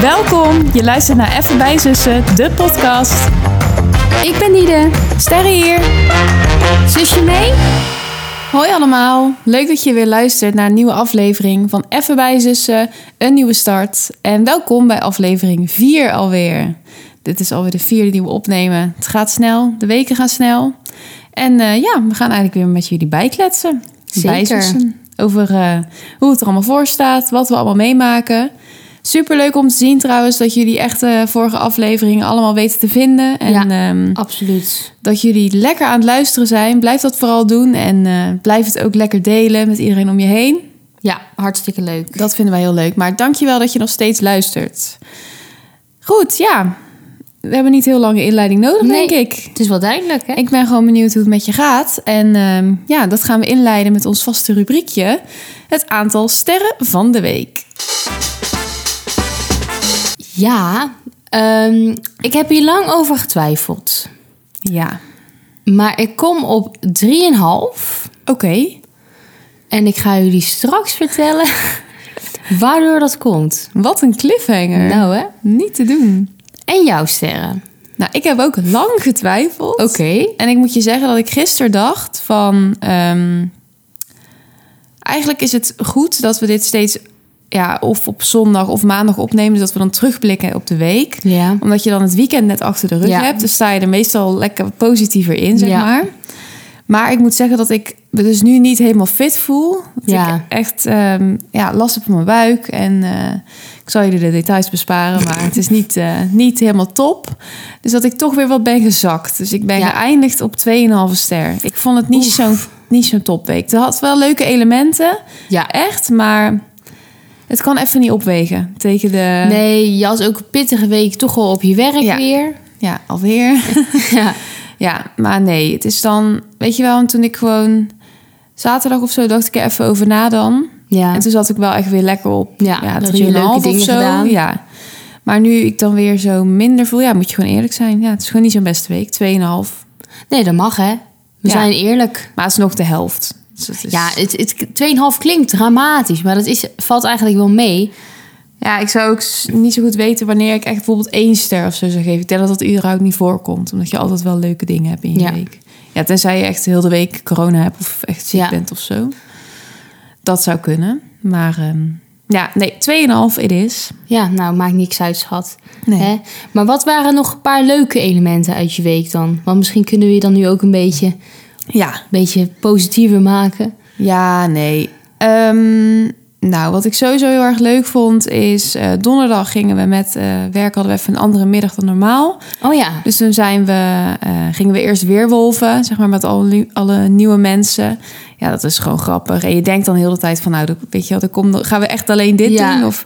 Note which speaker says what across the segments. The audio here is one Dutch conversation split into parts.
Speaker 1: Welkom, je luistert naar Even bij Zussen, de podcast.
Speaker 2: Ik ben Nide.
Speaker 1: Sterre hier.
Speaker 2: Zusje mee?
Speaker 1: Hoi allemaal, leuk dat je weer luistert naar een nieuwe aflevering van Even bij Zussen, een nieuwe start. En welkom bij aflevering 4 alweer. Dit is alweer de vierde die we opnemen. Het gaat snel, de weken gaan snel. En eh, ja, we gaan eigenlijk weer met jullie bijkletsen.
Speaker 2: Zeker.
Speaker 1: Bijzussen. Over eh, hoe het er allemaal voor staat, wat we allemaal meemaken. Superleuk om te zien trouwens dat jullie echt de vorige afleveringen allemaal weten te vinden. En
Speaker 2: Ja.
Speaker 1: ehm,
Speaker 2: Absoluut.
Speaker 1: dat jullie lekker aan het luisteren zijn. Blijf dat vooral doen en eh, blijf het ook lekker delen met iedereen om je heen.
Speaker 2: Ja, hartstikke leuk.
Speaker 1: Dat vinden wij heel leuk. Maar dankjewel dat je nog steeds luistert. Goed, ja. We hebben niet heel lange inleiding nodig,
Speaker 2: Nee.
Speaker 1: denk ik.
Speaker 2: Het is wel duidelijk, hè?
Speaker 1: Ik ben gewoon benieuwd hoe het met je gaat. En ehm, ja, dat gaan we inleiden met ons vaste rubriekje. Het aantal sterren van de week.
Speaker 2: Ja, ehm, ik heb hier lang over getwijfeld.
Speaker 1: Ja.
Speaker 2: Maar ik kom op 3,5.
Speaker 1: Oké.
Speaker 2: En ik ga jullie straks vertellen waardoor dat komt.
Speaker 1: Wat een cliffhanger.
Speaker 2: Nou, hè?
Speaker 1: Niet te doen.
Speaker 2: En jouw sterren.
Speaker 1: Nou, ik heb ook lang getwijfeld.
Speaker 2: Oké.
Speaker 1: En ik moet je zeggen dat ik gisteren dacht van... ehm, eigenlijk is het goed dat we dit steeds ja, of op zondag of maandag opnemen... dus dat we dan terugblikken op de week.
Speaker 2: Ja.
Speaker 1: Omdat je dan het weekend net achter de rug
Speaker 2: Ja.
Speaker 1: hebt. Dus sta je er meestal lekker positiever in, zeg
Speaker 2: Ja.
Speaker 1: maar. Maar ik moet zeggen dat ik me dus nu niet helemaal fit voel. Dat
Speaker 2: Ja.
Speaker 1: ik echt ehm, ja, last heb op mijn buik. En eh, ik zal jullie de details besparen, maar het is niet, eh, niet helemaal top. Dus dat ik toch weer wat ben gezakt. Dus ik ben
Speaker 2: Ja.
Speaker 1: geëindigd op 2,5 ster. Ik vond het niet
Speaker 2: Oef.
Speaker 1: zo'n niet zo'n topweek. Het had wel leuke elementen,
Speaker 2: Ja. eh,
Speaker 1: echt. Maar het kan even niet opwegen tegen de...
Speaker 2: Nee, je had ook een pittige week toch al op je werk
Speaker 1: Ja.
Speaker 2: weer.
Speaker 1: Ja, alweer.
Speaker 2: Ja.
Speaker 1: Ja, maar nee, het is dan, weet je wel, en toen ik gewoon zaterdag of zo dacht ik er even over na dan.
Speaker 2: Ja.
Speaker 1: En toen zat ik wel echt weer lekker op
Speaker 2: Ja, dat je
Speaker 1: 3,5
Speaker 2: leuke
Speaker 1: of
Speaker 2: dingen
Speaker 1: zo.
Speaker 2: gedaan.
Speaker 1: Ja. Maar nu ik dan weer zo minder voel, ja, moet je gewoon eerlijk zijn. Ja, het is gewoon niet zo'n beste week, 2,5.
Speaker 2: Nee, dat mag, hè? We
Speaker 1: Ja.
Speaker 2: zijn eerlijk.
Speaker 1: Maar het is nog de helft. Dus het is...
Speaker 2: Ja, het, het, 2,5 klinkt dramatisch, maar dat is, valt eigenlijk wel mee.
Speaker 1: ja, ik zou ook s- niet zo goed weten wanneer ik echt bijvoorbeeld één ster of zo zou geven. Ik denk dat dat überhaupt niet voorkomt, omdat je altijd wel leuke dingen hebt in je
Speaker 2: Ja.
Speaker 1: week. Ja, tenzij je echt heel de week corona hebt of echt ziek
Speaker 2: Ja.
Speaker 1: bent of zo. Dat zou kunnen. Maar ehm, ja, nee, 2,5 it is.
Speaker 2: Ja, nou, maakt niks uit, schat.
Speaker 1: Nee.
Speaker 2: Hè? Maar wat waren nog een paar leuke elementen uit je week dan? Want misschien kunnen we je dan nu ook een beetje, een
Speaker 1: Ja,
Speaker 2: beetje positiever maken.
Speaker 1: Ja, nee. Ehm, nou, wat ik sowieso heel erg leuk vond is... eh, donderdag gingen we met eh, werk, hadden we even een andere middag dan normaal.
Speaker 2: Oh ja,
Speaker 1: Dus toen zijn we, eh, gingen we eerst weerwolven, zeg maar, met al die- alle nieuwe mensen. Ja, dat is gewoon grappig. En je denkt dan heel de tijd van, nou, dat- weet je wel, dan kom, gaan we echt alleen dit
Speaker 2: Ja.
Speaker 1: doen? Of,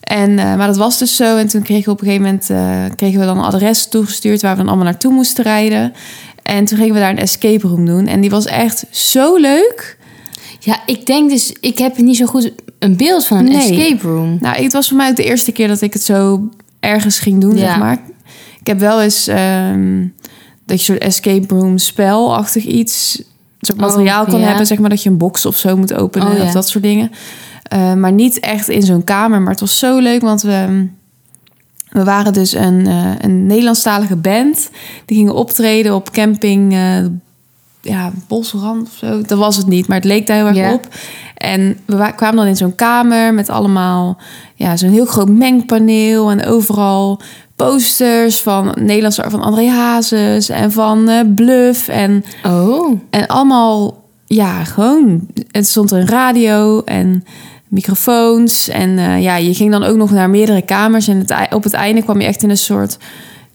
Speaker 1: en, eh, maar dat was dus zo. En toen kregen we op een gegeven moment eh, kregen we dan een adres toegestuurd waar we dan allemaal naartoe moesten rijden. En toen gingen we daar een escape room doen. En die was echt zo leuk.
Speaker 2: ja, ik denk dus, ik heb niet zo goed een beeld van een
Speaker 1: Nee.
Speaker 2: escape room.
Speaker 1: Nou, het was voor mij ook de eerste keer dat ik het zo ergens ging doen,
Speaker 2: Ja.
Speaker 1: zeg maar. Ik heb wel eens ehm, dat je een soort escape room spelachtig iets, soort
Speaker 2: Oh,
Speaker 1: materiaal kan
Speaker 2: ja.
Speaker 1: hebben, zeg maar dat je een box of zo moet openen
Speaker 2: Oh, ja.
Speaker 1: of dat soort dingen. Eh, maar niet echt in zo'n kamer. Maar het was zo leuk, want we, we waren dus een, eh, een Nederlandstalige band. Die gingen optreden op camping eh, ja, Bosrand of zo. Dat was het niet, maar het leek daar heel erg
Speaker 2: Ja.
Speaker 1: op. En we wa- kwamen dan in zo'n kamer met allemaal ja, zo'n heel groot mengpaneel en overal posters van Nederlandse van André Hazes en van eh, Bluff en
Speaker 2: Oh,
Speaker 1: en allemaal, ja, gewoon. Het stond een radio en microfoons. En eh, ja, je ging dan ook nog naar meerdere kamers. En het, ei- op het einde kwam je echt in een soort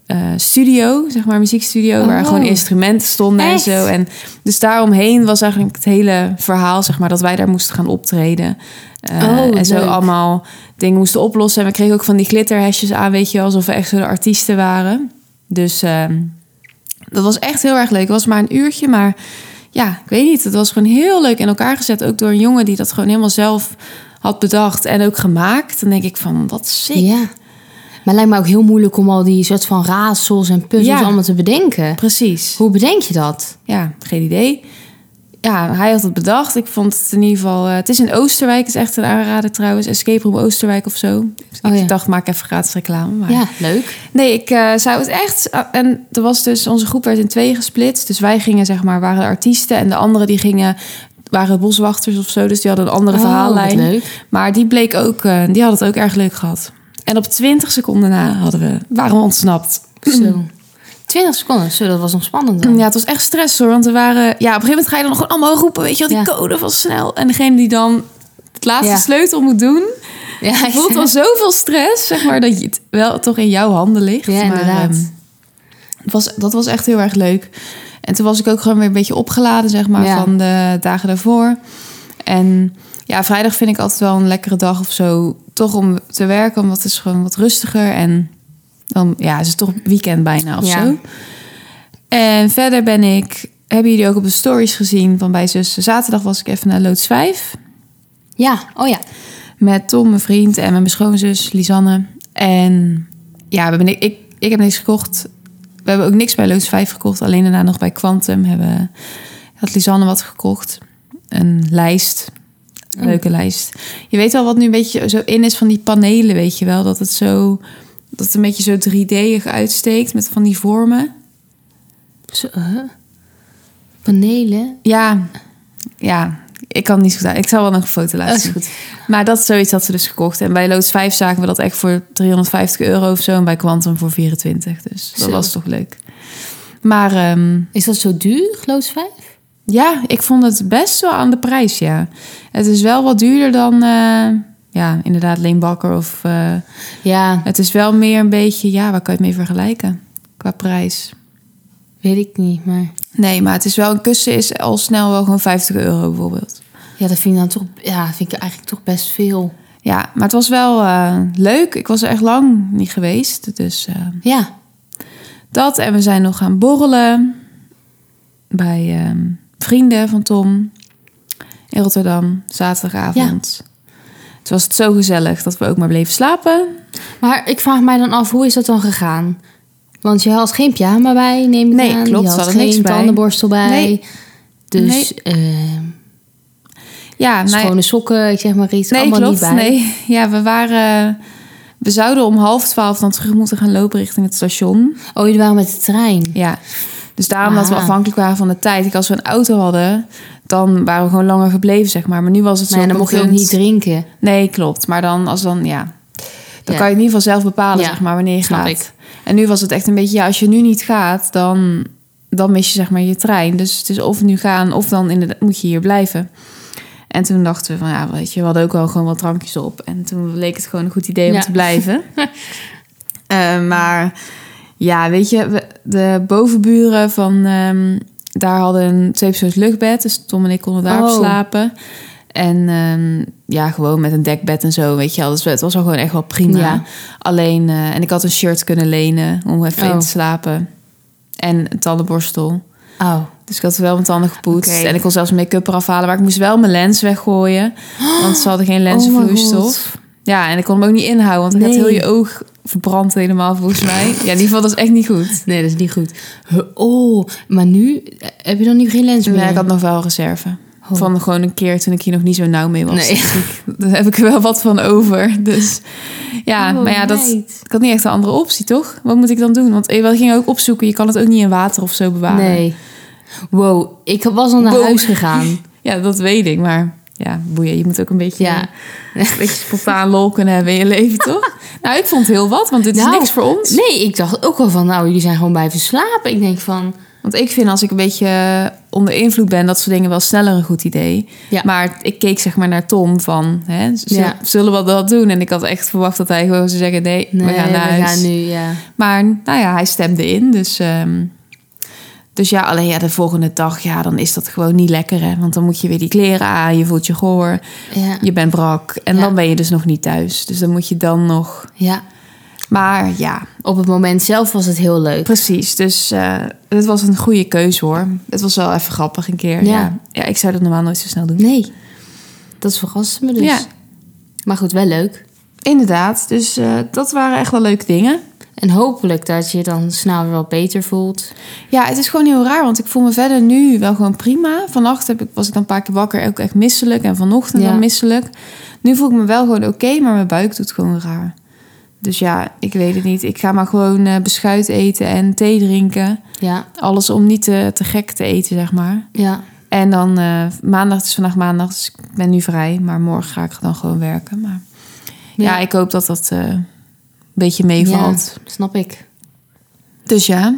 Speaker 1: eh, studio, zeg maar, muziekstudio. Waar
Speaker 2: Oh.
Speaker 1: gewoon instrumenten stonden
Speaker 2: Echt?
Speaker 1: en zo. En dus daaromheen was eigenlijk het hele verhaal, zeg maar, dat wij daar moesten gaan optreden. Eh,
Speaker 2: Oh,
Speaker 1: en zo
Speaker 2: leuk.
Speaker 1: allemaal dingen moesten oplossen. En we kregen ook van die glitterhesjes aan, weet je, wel, alsof we echt zo de artiesten waren. Dus ehm, dat was echt heel erg leuk. Het was maar een uurtje, maar ja, ik weet niet. Het was gewoon heel leuk in elkaar gezet. Ook door een jongen die dat gewoon helemaal zelf had bedacht en ook gemaakt. Dan denk ik van, wat sick.
Speaker 2: ja. Maar lijkt me ook heel moeilijk om al die soort van raadsels en puzzels
Speaker 1: Ja.
Speaker 2: allemaal te bedenken.
Speaker 1: Precies.
Speaker 2: Hoe bedenk je dat?
Speaker 1: Ja, geen idee. ja, hij had het bedacht. Ik vond het in ieder geval... eh, het is in Oosterwijk, het is echt een aanrader trouwens. Escape Room Oosterwijk of zo.
Speaker 2: Oh, ja.
Speaker 1: Ik dacht, maak even gratis reclame. Maar...
Speaker 2: Ja, leuk.
Speaker 1: Nee, ik eh, zou het echt... En er was dus... Onze groep werd in twee gesplitst. Dus wij gingen, zeg maar, waren de artiesten. En de anderen die gingen... Waren boswachters of zo. Dus die hadden een andere
Speaker 2: Oh, wat
Speaker 1: verhaallijn.
Speaker 2: leuk.
Speaker 1: Maar die bleek ook... eh, die had het ook erg leuk gehad. En op 20 seconden na hadden we, waren we ontsnapt.
Speaker 2: Zo. 20 seconden, zo, dat was nog spannend dan.
Speaker 1: Ja, het was echt stress hoor. Want er waren. Ja, op een gegeven moment ga je dan gewoon allemaal roepen. Weet je wel, die
Speaker 2: Ja.
Speaker 1: code van snel. En degene die dan het laatste
Speaker 2: Ja.
Speaker 1: sleutel moet doen.
Speaker 2: Ja,
Speaker 1: Het voelt al zoveel stress, zeg maar, dat je het wel toch in jouw handen ligt.
Speaker 2: Ja,
Speaker 1: Maar,
Speaker 2: inderdaad.
Speaker 1: ehm, het was, dat was echt heel erg leuk. En toen was ik ook gewoon weer een beetje opgeladen, zeg maar,
Speaker 2: Ja.
Speaker 1: van de dagen daarvoor. En ja, vrijdag vind ik altijd wel een lekkere dag of zo. Toch om te werken, omdat het is gewoon wat rustiger. En dan ja, is het toch weekend bijna of
Speaker 2: Ja.
Speaker 1: zo. En verder ben ik... Hebben jullie ook op de stories gezien van bij zussen? Zaterdag was ik even naar Loods 5.
Speaker 2: ja, oh ja.
Speaker 1: Met Tom, mijn vriend en met mijn schoonzus, Lisanne. En ja, we hebben, ni- ik, ik heb niks gekocht. We hebben ook niks bij Loods 5 gekocht. Alleen daarna nog bij Quantum hebben, had Lisanne wat gekocht. Een lijst. Een leuke lijst. Je weet wel wat nu een beetje zo in is van die panelen, weet je wel. Dat het zo... Dat het een beetje zo 3D'ig uitsteekt met van die vormen.
Speaker 2: Zo, huh? Panelen.
Speaker 1: Ja, ja. Ik kan het niet zo goed uit. Ik zal wel nog een foto laten
Speaker 2: Dat is
Speaker 1: zien.
Speaker 2: goed.
Speaker 1: Maar dat is zoiets dat ze dus gekocht. En bij Loods 5 zagen we dat echt voor 350 euro of zo. En bij Quantum voor 24. Dus dat
Speaker 2: Zo.
Speaker 1: was toch leuk. Maar ehm,
Speaker 2: Is dat zo duur, Loods 5?
Speaker 1: ja, ik vond het best wel aan de prijs, ja. Het is wel wat duurder dan, eh, ja, inderdaad Leenbakker. Of, eh,
Speaker 2: Ja,
Speaker 1: het is wel meer een beetje, ja, waar kan je het mee vergelijken? Qua prijs.
Speaker 2: weet ik niet, maar...
Speaker 1: Nee, maar het is wel, een kussen is al snel wel gewoon 50 euro bijvoorbeeld.
Speaker 2: Ja, dat vind ik dan toch... Ja, vind ik eigenlijk toch best veel.
Speaker 1: Ja, maar het was wel eh, leuk. Ik was er echt lang niet geweest, dus... eh,
Speaker 2: Ja,
Speaker 1: Dat en we zijn nog gaan borrelen bij ehm, vrienden van Tom in Rotterdam, zaterdagavond. Het was het zo gezellig dat we ook maar bleven slapen.
Speaker 2: maar ik vraag mij dan af, hoe is dat dan gegaan? Want je had geen pyjama bij, neem ik
Speaker 1: Nee,
Speaker 2: aan.
Speaker 1: klopt,
Speaker 2: Je
Speaker 1: we
Speaker 2: had
Speaker 1: hadden niks
Speaker 2: geen
Speaker 1: bij.
Speaker 2: tandenborstel bij.
Speaker 1: Nee.
Speaker 2: Dus eh,
Speaker 1: Ja, nou ja,
Speaker 2: schone sokken, ik zeg maar iets.
Speaker 1: nee,
Speaker 2: allemaal
Speaker 1: klopt.
Speaker 2: niet bij.
Speaker 1: Nee, ja, we waren. We zouden om half twaalf dan terug moeten gaan lopen richting het station.
Speaker 2: Oh, jullie waren met de trein.
Speaker 1: Ja. Dus daarom dat we
Speaker 2: Ah.
Speaker 1: afhankelijk waren van de tijd. Kijk, als we een auto hadden, dan waren we gewoon langer gebleven, zeg maar. Maar nu was het zo.
Speaker 2: Maar ja, dan mocht je ook
Speaker 1: punt-
Speaker 2: niet drinken.
Speaker 1: Nee, klopt. Maar dan, als dan, ja. Dan kan je
Speaker 2: Ja.
Speaker 1: het in ieder geval zelf bepalen,
Speaker 2: Ja,
Speaker 1: zeg maar, wanneer je
Speaker 2: snap
Speaker 1: gaat.
Speaker 2: ik.
Speaker 1: En nu was het echt een beetje, ja, als je nu niet gaat, dan, dan mis je, zeg maar, je trein. Dus het is of nu gaan, of dan inderdaad, moet je hier blijven. En toen dachten we van, ja, weet je, we hadden ook wel gewoon wat drankjes op. En toen leek het gewoon een goed idee om
Speaker 2: Ja.
Speaker 1: te blijven. Eh, maar ja, weet je, we- de bovenburen van... ehm, daar hadden een tweepersoons luchtbed. Dus Tom en ik konden daarop
Speaker 2: Oh.
Speaker 1: slapen. En ehm, ja, gewoon met een dekbed en zo, weet je wel. Dus het was al gewoon echt wel prima.
Speaker 2: Ja.
Speaker 1: Alleen, eh, en ik had een shirt kunnen lenen om even
Speaker 2: Oh.
Speaker 1: in te slapen. En een tandenborstel.
Speaker 2: Oh,
Speaker 1: Dus ik had wel mijn tanden gepoetst.
Speaker 2: Oké.
Speaker 1: En ik kon zelfs make-up eraf halen. Maar ik moest wel mijn lens weggooien. Want ze hadden geen lenzenvloeistof. ja, en ik kon hem ook niet inhouden. Want ik had
Speaker 2: Oh Nee.
Speaker 1: heel je oog verbrand helemaal, volgens mij. Ja, in ieder geval, dat is echt niet goed.
Speaker 2: nee, dat is niet goed. Huh, Oh, maar nu eh, heb je dan nu geen lens meer?
Speaker 1: Ja, ik Dus had nog wel reserve.
Speaker 2: Oh.
Speaker 1: Van gewoon een keer toen ik hier nog niet zo nauw mee was.
Speaker 2: Nee.
Speaker 1: Dus ik- Daar heb ik er wel wat van over. Dus ja,
Speaker 2: Oh,
Speaker 1: maar ja, dat,
Speaker 2: meid.
Speaker 1: ik had niet echt een andere optie, toch? Wat moet ik dan doen? Want eh, we gingen ook opzoeken. Je kan het ook niet in water of zo bewaren.
Speaker 2: Nee. Wow, ik was al naar
Speaker 1: Wow.
Speaker 2: huis gegaan.
Speaker 1: Ja, dat weet ik. Maar ja, boeien. Je moet ook een beetje...
Speaker 2: Ja.
Speaker 1: Een beetje spontaan lol kunnen hebben in je leven, toch? Nou, ik vond heel wat, want dit is
Speaker 2: Nou,
Speaker 1: niks voor ons.
Speaker 2: Nee, ik dacht ook wel van, nou, jullie zijn gewoon blijven slapen. Ik denk van,
Speaker 1: Want ik vind als ik een beetje onder invloed ben, dat soort dingen wel sneller een goed idee.
Speaker 2: Ja.
Speaker 1: Maar ik keek zeg maar naar Tom van, hè, z-
Speaker 2: Ja.
Speaker 1: zullen we dat doen? En ik had echt verwacht dat hij gewoon zou zeggen, nee,
Speaker 2: nee,
Speaker 1: we gaan naar huis.
Speaker 2: nu, ja.
Speaker 1: Maar nou ja, hij stemde in, dus... ehm, dus ja, alleen ja, de volgende dag, ja, dan is dat gewoon niet lekker, hè. Want dan moet je weer die kleren aan, je voelt je goor,
Speaker 2: Ja,
Speaker 1: je bent brak. En
Speaker 2: Ja.
Speaker 1: dan ben je dus nog niet thuis. Dus dan moet je dan nog...
Speaker 2: ja.
Speaker 1: Maar ja,
Speaker 2: Op het moment zelf was het heel leuk.
Speaker 1: Precies, dus eh, het was een goede keuze hoor. Het was wel even grappig een keer.
Speaker 2: Ja.
Speaker 1: Ja, ja. ik zou dat normaal nooit zo snel doen.
Speaker 2: Nee, dat verraste me dus.
Speaker 1: Ja.
Speaker 2: Maar goed, wel leuk.
Speaker 1: Inderdaad, dus eh, dat waren echt wel leuke dingen.
Speaker 2: En hopelijk dat je je dan snel weer wat beter voelt.
Speaker 1: Ja, het is gewoon heel raar, want ik voel me verder nu wel gewoon prima. Vannacht heb ik, was ik dan een paar keer wakker, ook echt misselijk. En vanochtend
Speaker 2: Ja.
Speaker 1: dan misselijk. Nu voel ik me wel gewoon oké, maar mijn buik doet gewoon raar. Dus ja, ik weet het niet. Ik ga maar gewoon eh, beschuit eten en thee drinken.
Speaker 2: Ja,
Speaker 1: Alles om niet te, te gek te eten, zeg maar.
Speaker 2: ja.
Speaker 1: En dan eh, maandag, het is vandaag maandag, dus ik ben nu vrij. Maar morgen ga ik dan gewoon werken. Maar ja,
Speaker 2: Ja.
Speaker 1: ik hoop dat dat eh, een beetje meevalt.
Speaker 2: Ja, snap ik.
Speaker 1: Dus ja,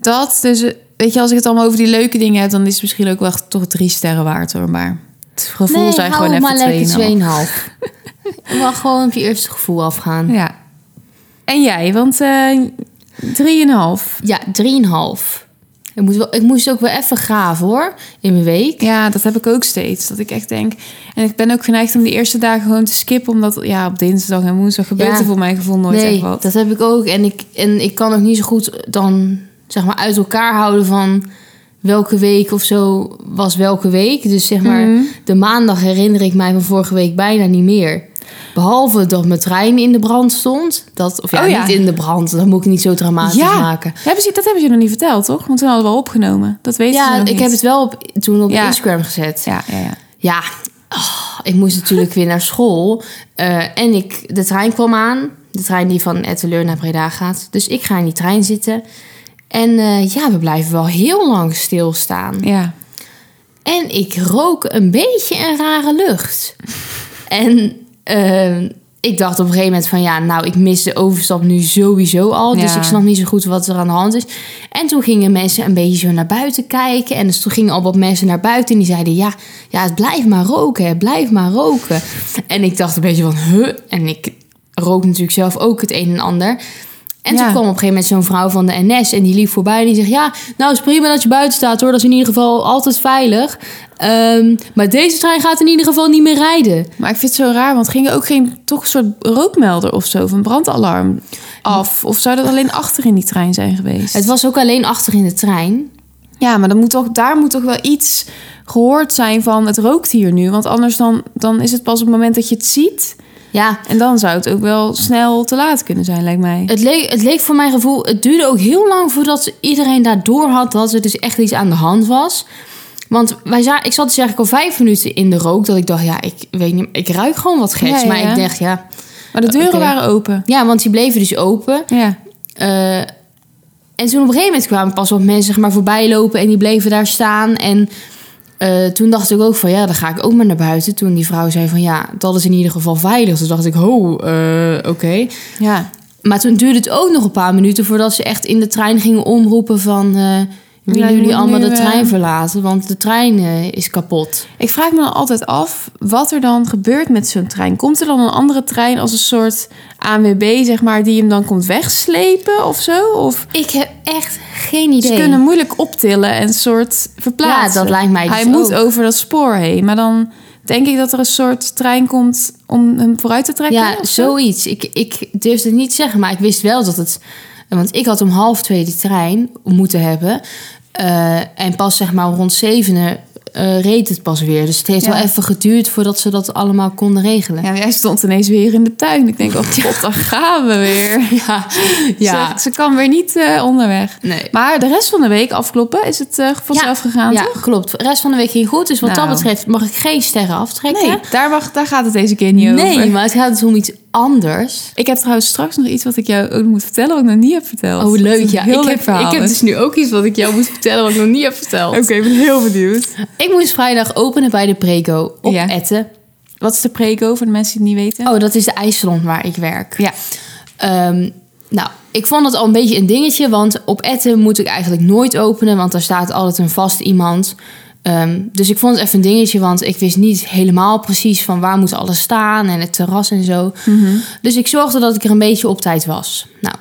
Speaker 1: dat. Dus eh, weet je, als ik het allemaal over die leuke dingen heb, dan is het misschien ook wel toch drie sterren waard hoor. Maar het gevoel
Speaker 2: nee,
Speaker 1: zijn
Speaker 2: hou
Speaker 1: gewoon
Speaker 2: maar
Speaker 1: even twee.
Speaker 2: lekker 2,5. Je mag gewoon op je eerste gevoel afgaan.
Speaker 1: Ja. En jij, want eh drieënhalf.
Speaker 2: Ja, 3,5. Ik, moet wel- ik moest ook wel even graven hoor, in mijn week.
Speaker 1: Ja, dat heb ik ook steeds. Dat ik echt denk. En ik ben ook geneigd om de eerste dagen gewoon te skippen. Omdat ja, op dinsdag en woensdag gebeurt
Speaker 2: Ja.
Speaker 1: er voor mijn gevoel nooit
Speaker 2: nee,
Speaker 1: echt wat.
Speaker 2: dat heb ik ook. En ik, en ik kan ook niet zo goed dan zeg maar uit elkaar houden van welke week of zo was welke week. Dus zeg maar,
Speaker 1: Mhm.
Speaker 2: de maandag herinner ik mij van vorige week bijna niet meer. Behalve dat mijn trein in de brand stond. Dat, of ja,
Speaker 1: Oh ja.
Speaker 2: niet in de brand. Dat moet ik niet zo dramatisch
Speaker 1: Ja.
Speaker 2: maken.
Speaker 1: Hebben ze, dat hebben ze nog niet verteld, toch? Want toen hadden we al opgenomen. Dat weten ze
Speaker 2: Ja,
Speaker 1: nog
Speaker 2: ik
Speaker 1: niet.
Speaker 2: heb het wel op, toen op
Speaker 1: Ja.
Speaker 2: Instagram gezet.
Speaker 1: Ja, ja, ja.
Speaker 2: Ja, ah, ik moest natuurlijk weer naar school. Eh, en ik, de trein kwam aan. De trein die van Etteleur naar Breda gaat. Dus ik ga in die trein zitten. En eh, ja, we blijven wel heel lang stilstaan.
Speaker 1: ja.
Speaker 2: En ik rook een beetje een rare lucht. En ehm, ik dacht op een gegeven moment van ja, nou ik mis de overstap nu sowieso al. Dus
Speaker 1: Ja.
Speaker 2: ik snap niet zo goed wat er aan de hand is. En toen gingen mensen een beetje zo naar buiten kijken. En dus toen gingen al wat mensen naar buiten en die zeiden ja, ja het blijft maar roken, het blijft maar roken. En ik dacht een beetje van huh? En ik rook natuurlijk zelf ook het een en ander. En
Speaker 1: Ja.
Speaker 2: toen kwam op een gegeven moment zo'n vrouw van de NS en die liep voorbij en die zegt: Ja, nou is prima dat je buiten staat hoor, dat is in ieder geval altijd veilig. Ehm, maar deze trein gaat in ieder geval niet meer rijden.
Speaker 1: Maar ik vind het zo raar, want ging er ook geen toch een soort rookmelder of zo, of een brandalarm af? Of zou dat alleen achter in die trein zijn geweest?
Speaker 2: Het was ook alleen achter in de trein.
Speaker 1: Ja, maar dan moet toch, daar moet toch wel iets gehoord zijn van het rookt hier nu. Want anders dan, dan is het pas op het moment dat je het ziet.
Speaker 2: Ja,
Speaker 1: En dan zou het ook wel snel te laat kunnen zijn, lijkt mij.
Speaker 2: het leek, het leek voor mijn gevoel, het duurde ook heel lang voordat iedereen daardoor had dat er dus echt iets aan de hand was. Want wij za- ik zat dus eigenlijk al vijf minuten in de rook dat ik dacht: Ja, ik weet niet, ik ruik gewoon wat geks.
Speaker 1: Ja, ja,
Speaker 2: maar
Speaker 1: ja.
Speaker 2: ik dacht: ja.
Speaker 1: Maar de deuren
Speaker 2: Oké.
Speaker 1: waren open.
Speaker 2: ja, want die bleven dus open.
Speaker 1: Ja.
Speaker 2: Eh, en toen op een gegeven moment kwamen pas wat mensen zeg maar, voorbij lopen en die bleven daar staan. En eh, toen dacht ik ook van ja, dan ga ik ook maar naar buiten. Toen die vrouw zei van ja, dat is in ieder geval veilig. Toen dacht ik, ho, eh, oké.
Speaker 1: Ja.
Speaker 2: Maar toen duurde het ook nog een paar minuten voordat ze echt in de trein gingen omroepen van... eh
Speaker 1: Ja,
Speaker 2: willen
Speaker 1: je
Speaker 2: jullie
Speaker 1: moet
Speaker 2: allemaal
Speaker 1: nu,
Speaker 2: de
Speaker 1: eh,
Speaker 2: trein verlaten? Want de trein eh, is kapot.
Speaker 1: Ik vraag me dan altijd af wat er dan gebeurt met zo'n trein. Komt er dan een andere trein als een soort ANWB, zeg maar, die hem dan komt wegslepen of zo? Of...
Speaker 2: Ik heb echt geen idee.
Speaker 1: Ze kunnen hem moeilijk optillen en een soort verplaatsen.
Speaker 2: Ja, dat lijkt mij dus
Speaker 1: Hij moet
Speaker 2: ook.
Speaker 1: over dat spoor heen. Maar dan denk ik dat er een soort trein komt om hem vooruit te trekken.
Speaker 2: Ja,
Speaker 1: of
Speaker 2: zoiets. Ik, ik durfde het niet te zeggen, maar ik wist wel dat het... Want ik had om half twee de trein moeten hebben. eh, en pas zeg maar rond zevenen eh reed het pas weer. Dus het heeft
Speaker 1: Ja.
Speaker 2: wel even geduurd voordat ze dat allemaal konden regelen.
Speaker 1: Ja, maar jij stond ineens weer in de tuin. Ik denk, oh god, daar gaan we weer.
Speaker 2: Ja, ja.
Speaker 1: Ze, ze kan weer niet eh, onderweg.
Speaker 2: Nee.
Speaker 1: Maar de rest van de week afkloppen is het eh, vanzelf gegaan,
Speaker 2: ja
Speaker 1: toch?
Speaker 2: klopt. De rest van de week ging goed. Dus wat
Speaker 1: Nou.
Speaker 2: dat betreft mag ik geen sterren aftrekken.
Speaker 1: Nee, daar, mag, daar gaat het deze keer niet
Speaker 2: nee
Speaker 1: over.
Speaker 2: maar het gaat dus om iets anders.
Speaker 1: Ik heb trouwens straks nog iets wat ik jou ook moet vertellen... wat ik nog niet heb verteld.
Speaker 2: Oh,
Speaker 1: Dat
Speaker 2: wat
Speaker 1: is
Speaker 2: leuk.
Speaker 1: een
Speaker 2: Ja,
Speaker 1: heel
Speaker 2: ik,
Speaker 1: leuk
Speaker 2: heb,
Speaker 1: verhaal.
Speaker 2: ik heb dus nu ook iets wat ik jou moet vertellen... wat ik nog niet heb verteld.
Speaker 1: Oké, ik ben heel benieuwd.
Speaker 2: Ik moest vrijdag openen bij de Prego op
Speaker 1: Ja.
Speaker 2: Etten.
Speaker 1: Wat is de prego voor de mensen die het niet weten?
Speaker 2: Oh, dat is de ijssalon waar ik werk.
Speaker 1: Ja,
Speaker 2: Ehm, nou, ik vond het al een beetje een dingetje, want op Etten moet ik eigenlijk nooit openen, want daar staat altijd een vast iemand. Ehm, dus ik vond het even een dingetje, want ik wist niet helemaal precies van waar moet alles staan en het terras en zo.
Speaker 1: Mhm.
Speaker 2: Dus ik zorgde dat ik er een beetje op tijd was. Nou,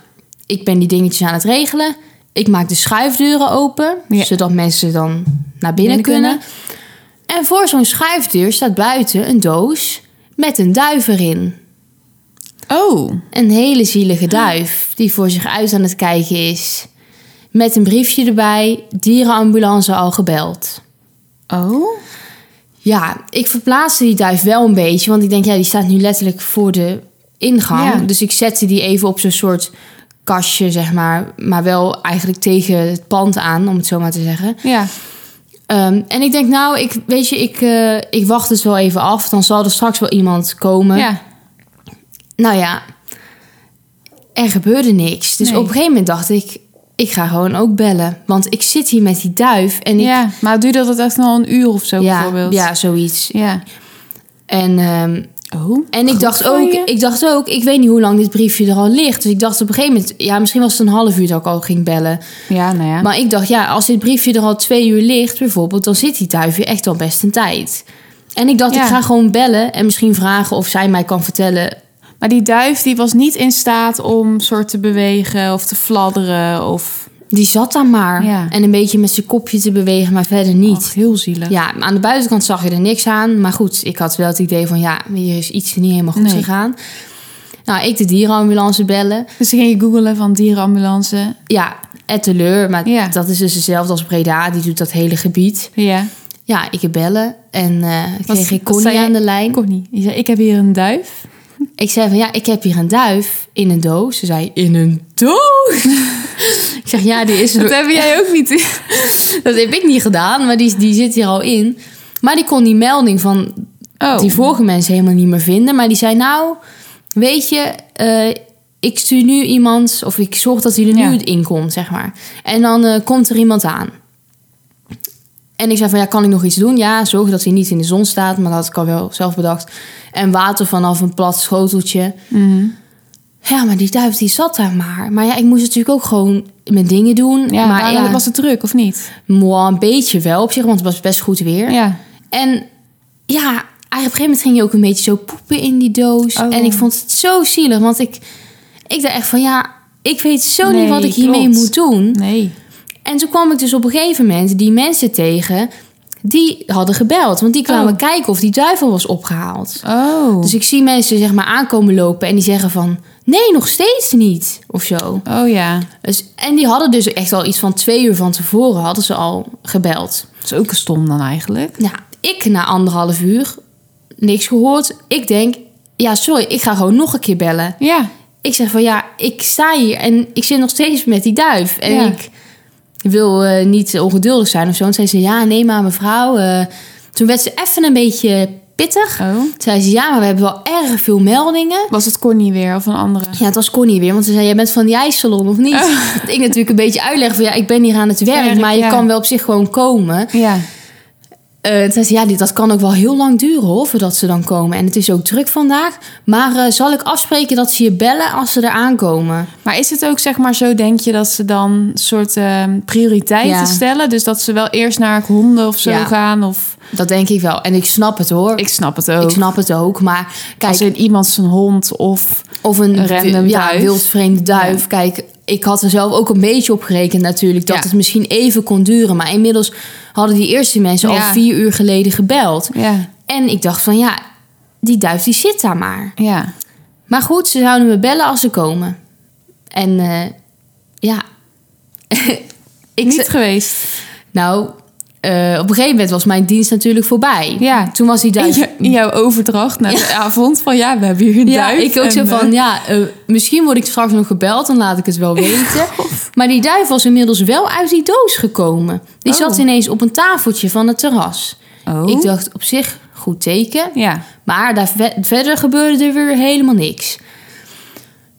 Speaker 2: ik ben die dingetjes aan het regelen. Ik maak de schuifdeuren open,
Speaker 1: Ja.
Speaker 2: zodat mensen dan naar binnen,
Speaker 1: Binnen kunnen.
Speaker 2: kunnen. En voor zo'n schuifdeur staat buiten een doos met een duif erin.
Speaker 1: Oh,
Speaker 2: Een hele zielige duif die voor zich uit aan het kijken is. Met een briefje erbij, dierenambulance al gebeld.
Speaker 1: oh.
Speaker 2: Ja, ik verplaatste die duif wel een beetje, want ik denk, ja, die staat nu letterlijk voor de ingang.
Speaker 1: Ja.
Speaker 2: Dus ik zette die even op zo'n soort kastje, zeg maar. Maar wel eigenlijk tegen het pand aan, om het zo maar te zeggen.
Speaker 1: Ja,
Speaker 2: Ehm, en ik denk, nou, ik, weet je, ik, eh, ik wacht het wel even af. Dan zal er straks wel iemand komen.
Speaker 1: ja.
Speaker 2: Nou ja, er gebeurde niks. Dus
Speaker 1: Nee.
Speaker 2: op een gegeven moment dacht ik, ik ga gewoon ook bellen. Want ik zit hier met die duif en ik...
Speaker 1: ja. Maar duurde dat echt al een uur of zo
Speaker 2: ja,
Speaker 1: bijvoorbeeld?
Speaker 2: ja, zoiets.
Speaker 1: ja.
Speaker 2: En, ehm,
Speaker 1: Oh.
Speaker 2: en ik, dacht
Speaker 1: van
Speaker 2: ook,
Speaker 1: je.
Speaker 2: ik dacht ook, ik weet niet hoe lang dit briefje er al ligt. Dus ik dacht op een gegeven moment, ja, misschien was het een half uur dat ik al ging bellen.
Speaker 1: Ja, nou ja.
Speaker 2: Maar ik dacht, ja, als dit briefje er al twee uur ligt bijvoorbeeld... dan zit die duifje echt al best een tijd. En ik dacht,
Speaker 1: Ja.
Speaker 2: ik ga gewoon bellen en misschien vragen of zij mij kan vertellen
Speaker 1: Maar die duif die was niet in staat om soort te bewegen of te fladderen of
Speaker 2: Die zat daar maar.
Speaker 1: Ja.
Speaker 2: En een beetje met zijn kopje te bewegen, maar verder niet.
Speaker 1: Och, heel zielig.
Speaker 2: Ja, aan de buitenkant zag je er niks aan. Maar goed, ik had wel het idee van ja, hier is iets niet helemaal goed
Speaker 1: Nee.
Speaker 2: gegaan. Nou, ik de dierenambulance bellen.
Speaker 1: Dus ze gingen googelen van dierenambulance.
Speaker 2: Ja, et teleur. Maar
Speaker 1: Ja.
Speaker 2: dat is dus hetzelfde als Breda. Die doet dat hele gebied.
Speaker 1: Ja.
Speaker 2: Ja, ik heb bellen. En eh kreeg ik
Speaker 1: wat
Speaker 2: Connie
Speaker 1: zei je?
Speaker 2: aan de lijn.
Speaker 1: Kon niet. Je zei, ik heb hier een duif.
Speaker 2: Ik zei van ja, ik heb hier een duif in een doos. Ze zei in een doos? ik zeg ja, die is er
Speaker 1: Dat heb jij ook niet.
Speaker 2: Dat heb ik niet gedaan, maar die, die zit hier al in. Maar die kon die melding van
Speaker 1: Oh.
Speaker 2: die vorige mensen helemaal niet meer vinden. Maar die zei nou, weet je, eh, ik stuur nu iemand... of ik zorg dat hij er nu
Speaker 1: Ja.
Speaker 2: in komt, zeg maar. En dan eh, komt er iemand aan. En ik zei van, ja, kan ik nog iets doen? Ja, zorg dat hij niet in de zon staat. Maar dat had ik al wel zelf bedacht. En water vanaf een plat schoteltje.
Speaker 1: Mhm.
Speaker 2: Ja, maar die duif die zat daar maar. Maar ja, ik moest natuurlijk ook gewoon mijn dingen doen.
Speaker 1: Ja,
Speaker 2: maar
Speaker 1: maar
Speaker 2: ja,
Speaker 1: was het druk of niet?
Speaker 2: moi, een beetje wel op zich, want het was best goed weer.
Speaker 1: Ja.
Speaker 2: En ja, eigenlijk op een gegeven moment ging je ook een beetje zo poepen in die doos.
Speaker 1: Oh.
Speaker 2: En ik vond het zo zielig, want ik, ik dacht echt van ja, ik weet zo
Speaker 1: Nee,
Speaker 2: niet wat ik hiermee
Speaker 1: klopt.
Speaker 2: moet doen.
Speaker 1: Nee.
Speaker 2: En toen kwam ik dus op een gegeven moment die mensen tegen die hadden gebeld. Want die kwamen
Speaker 1: Oh.
Speaker 2: kijken of die duivel was opgehaald.
Speaker 1: Oh.
Speaker 2: Dus ik zie mensen zeg maar aankomen lopen en die zeggen van... Nee, nog steeds niet. Of zo.
Speaker 1: oh ja.
Speaker 2: Dus, en die hadden dus echt al iets van twee uur van tevoren hadden ze al gebeld.
Speaker 1: Dat is ook een stom dan eigenlijk.
Speaker 2: Nou, ik na anderhalf uur niks gehoord. Ik denk, ja, sorry, ik ga gewoon nog een keer bellen.
Speaker 1: Ja.
Speaker 2: Ik zeg van ja, ik sta hier en ik zit nog steeds met die duif. En
Speaker 1: Ja.
Speaker 2: ik wil eh, niet ongeduldig zijn of zo. En zei ze, ja, nee maar mevrouw. eh. toen werd ze even een beetje pittig.
Speaker 1: Oh.
Speaker 2: Toen zei ze, ja, maar we hebben wel erg veel meldingen.
Speaker 1: Was het Connie weer of een andere?
Speaker 2: Ja, het was Connie weer, want ze zei, jij bent van die ijssalon of niet? Dat ik natuurlijk een beetje uitleg van, ja, ik ben hier aan het werk,
Speaker 1: Oh. Werk,
Speaker 2: maar je
Speaker 1: ja.
Speaker 2: kan wel op zich gewoon komen.
Speaker 1: Ja.
Speaker 2: Eh, toen zei ze, ja, dit, dat kan ook wel heel lang duren hoor, voordat ze dan komen. En het is ook druk vandaag. Maar eh, zal ik afspreken dat ze je bellen als ze er aankomen?
Speaker 1: Maar is het ook zeg maar zo, denk je, dat ze dan soort ehm, prioriteiten
Speaker 2: Ja.
Speaker 1: stellen? Dus dat ze wel eerst naar honden of zo
Speaker 2: Ja.
Speaker 1: gaan? Of...
Speaker 2: Dat denk ik wel. En ik snap het hoor. Ik,
Speaker 1: Ik snap het ook.
Speaker 2: snap het ook. Maar kijk,
Speaker 1: Als in iemand zijn hond of...
Speaker 2: of een,
Speaker 1: een random
Speaker 2: ja,
Speaker 1: duif.
Speaker 2: wildvreemde duif. Kijk, ik had er zelf ook een beetje op gerekend natuurlijk. Dat
Speaker 1: Ja.
Speaker 2: het misschien even kon duren. Maar inmiddels hadden die eerste mensen al
Speaker 1: Ja.
Speaker 2: vier uur geleden gebeld.
Speaker 1: Ja.
Speaker 2: En ik dacht van ja, die duif die zit daar maar.
Speaker 1: Ja.
Speaker 2: Maar goed, ze zouden me bellen als ze komen. En eh, ja. ik
Speaker 1: Niet
Speaker 2: ze-
Speaker 1: geweest.
Speaker 2: nou, eh, op een gegeven moment was mijn dienst natuurlijk voorbij.
Speaker 1: Ja.
Speaker 2: Toen was die
Speaker 1: In,
Speaker 2: duif.
Speaker 1: je- in jouw overdracht naar de avond van ja, we hebben hier een
Speaker 2: ja,
Speaker 1: duif.
Speaker 2: ik ook
Speaker 1: en,
Speaker 2: zo
Speaker 1: eh,
Speaker 2: van, ja, eh, misschien word ik straks nog gebeld, dan laat ik het wel weten. maar die duif was inmiddels wel uit die doos gekomen. Die
Speaker 1: Oh.
Speaker 2: zat ineens op een tafeltje van het terras.
Speaker 1: Oh.
Speaker 2: Ik dacht op zich, goed teken.
Speaker 1: Ja.
Speaker 2: Maar daar ve- verder gebeurde er weer helemaal niks.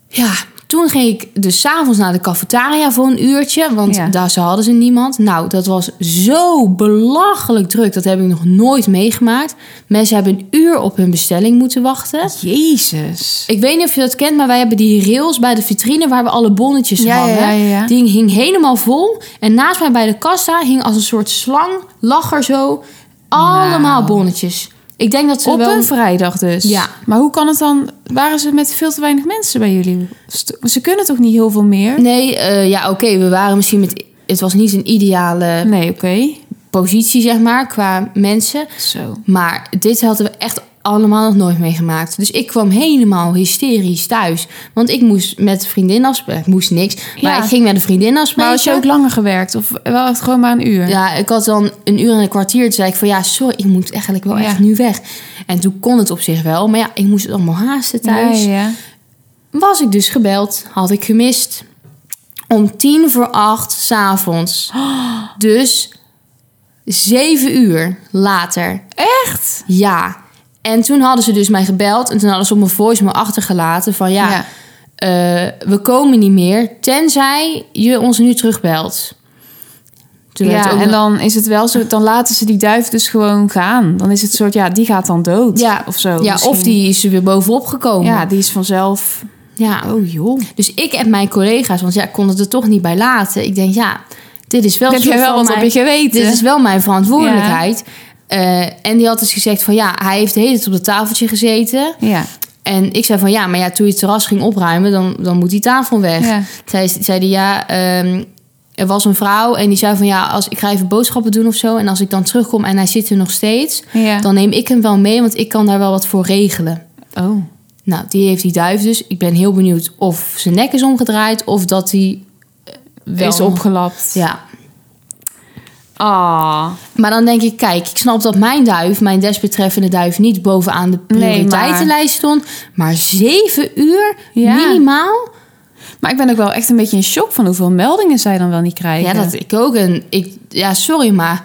Speaker 2: Ja, toen ging ik dus 's avonds naar de cafetaria voor een uurtje. Want
Speaker 1: Ja.
Speaker 2: daar ze hadden ze niemand. Nou, dat was zo belachelijk druk. Dat heb ik nog nooit meegemaakt. Mensen hebben een uur op hun bestelling moeten wachten.
Speaker 1: Jezus.
Speaker 2: Ik weet niet of je dat kent, maar wij hebben die rails bij de vitrine waar we alle bonnetjes
Speaker 1: Ja, ja,
Speaker 2: hangen.
Speaker 1: ja, ja, ja.
Speaker 2: Die hing helemaal vol. En naast mij bij de kassa hing als een soort slang, lacher zo, allemaal
Speaker 1: Nou.
Speaker 2: bonnetjes. Ik denk dat ze
Speaker 1: Op
Speaker 2: wel...
Speaker 1: een vrijdag dus.
Speaker 2: Ja.
Speaker 1: Maar hoe kan het dan? Waren ze met veel te weinig mensen bij jullie? St- Ze kunnen toch niet heel veel meer?
Speaker 2: Nee, eh, ja, oké, we waren misschien met. Het was niet een ideale
Speaker 1: Nee, oké.
Speaker 2: positie, zeg maar, qua mensen.
Speaker 1: Zo.
Speaker 2: Maar dit hadden we echt allemaal nog nooit meegemaakt. Dus ik kwam helemaal hysterisch thuis. Want ik moest met een vriendin afspreken. Ik moest niks. Maar
Speaker 1: Ja.
Speaker 2: ik ging met een vriendin
Speaker 1: Maar
Speaker 2: afspreken.
Speaker 1: had je ook langer gewerkt? Of wel echt gewoon maar een uur?
Speaker 2: Ja, ik had dan een uur en een kwartier. Toen zei ik van ja, sorry, ik moet eigenlijk wel
Speaker 1: Ja.
Speaker 2: echt nu weg. En toen kon het op zich wel. Maar ja, ik moest het allemaal haasten thuis.
Speaker 1: Ja, ja.
Speaker 2: was ik dus gebeld, had ik gemist. Om tien voor acht s'avonds. Dus zeven uur later.
Speaker 1: Echt?
Speaker 2: Ja. En toen hadden ze dus mij gebeld en toen hadden ze op mijn voicemail achtergelaten van ja,
Speaker 1: Ja.
Speaker 2: eh, we komen niet meer tenzij je ons nu terugbelt. Toen werd
Speaker 1: Ja,
Speaker 2: ook
Speaker 1: en
Speaker 2: nog-
Speaker 1: dan is het wel zo, dan laten ze die duif dus gewoon gaan. Dan is het soort, ja, die gaat dan dood.
Speaker 2: Ja.
Speaker 1: of zo.
Speaker 2: ja,
Speaker 1: misschien.
Speaker 2: of die is er weer bovenop gekomen.
Speaker 1: Ja, die is vanzelf.
Speaker 2: Ja.
Speaker 1: Oh joh.
Speaker 2: Dus ik en mijn collega's, want ja, ik kon het er toch niet bij laten. Ik denk, ja, dit is wel
Speaker 1: Heb
Speaker 2: een soort
Speaker 1: jij wel
Speaker 2: van
Speaker 1: wat
Speaker 2: mijn-
Speaker 1: op je geweten?
Speaker 2: Dit is wel mijn verantwoordelijkheid. Eh, en die had dus gezegd van ja, hij heeft de hele tijd op dat tafeltje gezeten.
Speaker 1: Ja.
Speaker 2: En ik zei van ja, maar ja, toen je het terras ging opruimen, dan, dan moet die tafel weg.
Speaker 1: Ja.
Speaker 2: Zij zei die ja, ehm, er was een vrouw en die zei van ja, als ik ga even boodschappen doen of zo. En als ik dan terugkom en hij zit er nog steeds,
Speaker 1: ja.
Speaker 2: dan neem ik hem wel mee, want ik kan daar wel wat voor regelen.
Speaker 1: oh.
Speaker 2: Nou, die heeft die duif dus. Ik ben heel benieuwd of zijn nek is omgedraaid of dat hij eh, wel
Speaker 1: Is opgelapt.
Speaker 2: Ja.
Speaker 1: Ah.
Speaker 2: Maar dan denk ik, kijk, ik snap dat mijn duif, mijn desbetreffende duif, niet bovenaan de
Speaker 1: Nee, maar-
Speaker 2: prioriteitenlijst stond. Maar zeven uur
Speaker 1: Ja.
Speaker 2: minimaal?
Speaker 1: Maar ik ben ook wel echt een beetje in shock van hoeveel meldingen zij dan wel niet krijgen.
Speaker 2: Ja, dat ik ook. En ik, ja, sorry, maar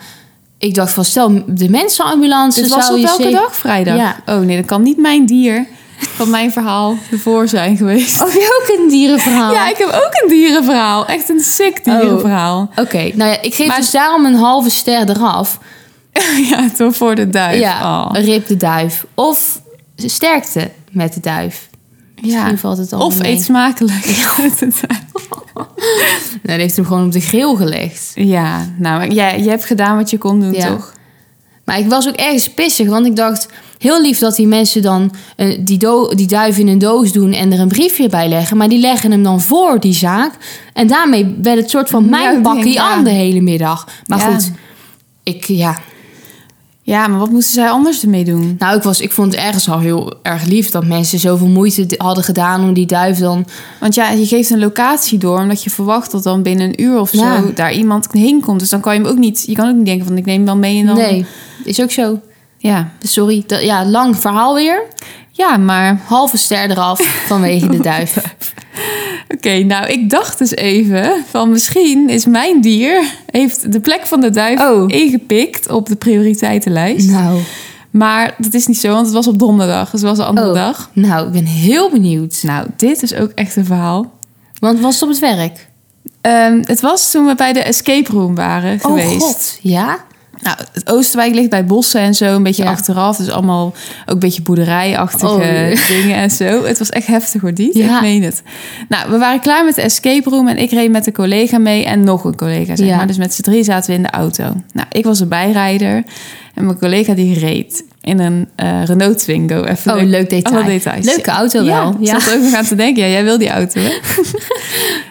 Speaker 2: ik dacht van stel, de mensenambulance
Speaker 1: Dit was
Speaker 2: Dus zou
Speaker 1: op
Speaker 2: je
Speaker 1: elke
Speaker 2: zeker-
Speaker 1: dag vrijdag.
Speaker 2: Ja.
Speaker 1: Oh nee, dat kan niet mijn dier van mijn verhaal ervoor zijn geweest.
Speaker 2: Oh, heb je ook een dierenverhaal?
Speaker 1: Ja, ik heb ook een dierenverhaal. Echt een sick
Speaker 2: Oh.
Speaker 1: dierenverhaal.
Speaker 2: Oké, nou ja, ik geef
Speaker 1: Maar-
Speaker 2: dus daarom een halve ster eraf.
Speaker 1: ja, toch voor de duif.
Speaker 2: Ja,
Speaker 1: Oh.
Speaker 2: rip de duif. Of sterkte met de duif.
Speaker 1: ja.
Speaker 2: Misschien valt het al
Speaker 1: Of
Speaker 2: mee.
Speaker 1: eet smakelijk. Met de duif.
Speaker 2: Nee, die heeft hem gewoon op de grill gelegd.
Speaker 1: ja, nou, maar jij, je hebt gedaan wat je kon doen,
Speaker 2: Ja.
Speaker 1: toch?
Speaker 2: Maar ik was ook ergens pissig, want ik dacht... heel lief dat die mensen dan eh, die, do- die duif in een doos doen... en er een briefje bij leggen. Maar die leggen hem dan voor die zaak. En daarmee werd het soort van mijn
Speaker 1: Ja, ik denk,
Speaker 2: bakkie
Speaker 1: ja.
Speaker 2: aan de hele middag. Maar
Speaker 1: Ja.
Speaker 2: goed, ik, ja.
Speaker 1: Ja, maar wat moesten zij anders ermee doen?
Speaker 2: nou, ik, was, ik vond het ergens al heel erg lief... dat mensen zoveel moeite d- hadden gedaan om die duif dan...
Speaker 1: Want ja, je geeft een locatie door, omdat je verwacht dat dan binnen een uur of zo
Speaker 2: Ja.
Speaker 1: daar iemand heen komt. Dus dan kan je hem ook niet, je kan ook niet denken van ik neem hem wel mee en dan.
Speaker 2: Nee, is ook zo.
Speaker 1: Ja,
Speaker 2: Sorry, dat, ja, lang verhaal weer.
Speaker 1: ja maar
Speaker 2: Halve ster eraf vanwege de duif.
Speaker 1: Oké, nou ik dacht dus even van misschien is mijn dier heeft de plek van de duif
Speaker 2: Oh.
Speaker 1: ingepikt op de prioriteitenlijst.
Speaker 2: Nou,
Speaker 1: Maar dat is niet zo, want het was op donderdag, dus het was een andere
Speaker 2: Oh.
Speaker 1: dag.
Speaker 2: nou, ik ben heel benieuwd.
Speaker 1: Nou, dit is ook echt een verhaal.
Speaker 2: Want was het op het werk?
Speaker 1: Ehm, het was toen we bij de escape room
Speaker 2: Oh,
Speaker 1: waren geweest.
Speaker 2: ja?
Speaker 1: Nou, het Oosterwijk ligt bij bossen en zo, een beetje
Speaker 2: Ja.
Speaker 1: achteraf. Dus allemaal ook een beetje boerderijachtige
Speaker 2: Oh, jee.
Speaker 1: dingen en zo. Het was echt heftig hoor, die.
Speaker 2: Ja.
Speaker 1: Ik meen het. Nou, we waren klaar met de escape room en ik reed met een collega mee en nog een collega, zeg
Speaker 2: Ja.
Speaker 1: maar. Dus met z'n drie zaten we in de auto. Nou, ik was een bijrijder en mijn collega die reed in een eh, Renault Twingo. Even
Speaker 2: Oh, leuk detail.
Speaker 1: Alle details.
Speaker 2: Leuke auto wel.
Speaker 1: Ja,
Speaker 2: Ja.
Speaker 1: ik zat er ook nog aan te denken. Ja, jij wil die auto, hè?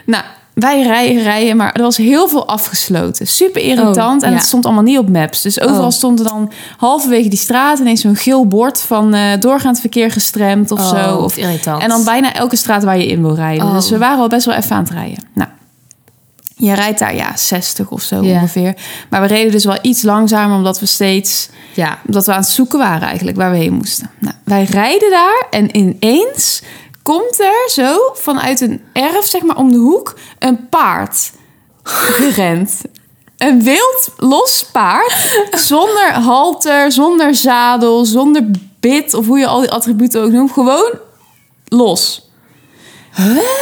Speaker 1: nou, wij rijden, rijden, maar er was heel veel afgesloten. Super irritant
Speaker 2: Oh,
Speaker 1: en
Speaker 2: ja.
Speaker 1: het stond allemaal niet op maps. Dus overal
Speaker 2: Oh.
Speaker 1: stond er dan halverwege die straat ineens zo'n geel bord van eh, doorgaand verkeer gestremd of zo. Of,
Speaker 2: irritant.
Speaker 1: en dan bijna elke straat waar je in wil rijden.
Speaker 2: Oh.
Speaker 1: Dus we waren al best wel even aan het rijden. Nou, je rijdt daar ja 60 of zo
Speaker 2: Ja.
Speaker 1: ongeveer. Maar we reden dus wel iets langzamer omdat we steeds
Speaker 2: Ja.
Speaker 1: omdat we aan het zoeken waren eigenlijk waar we heen moesten. Nou, wij rijden daar en ineens komt er zo vanuit een erf, zeg maar om de hoek, een paard gerend. Een wild los paard, zonder halter, zonder zadel, zonder bit of hoe je al die attributen ook noemt. Gewoon los.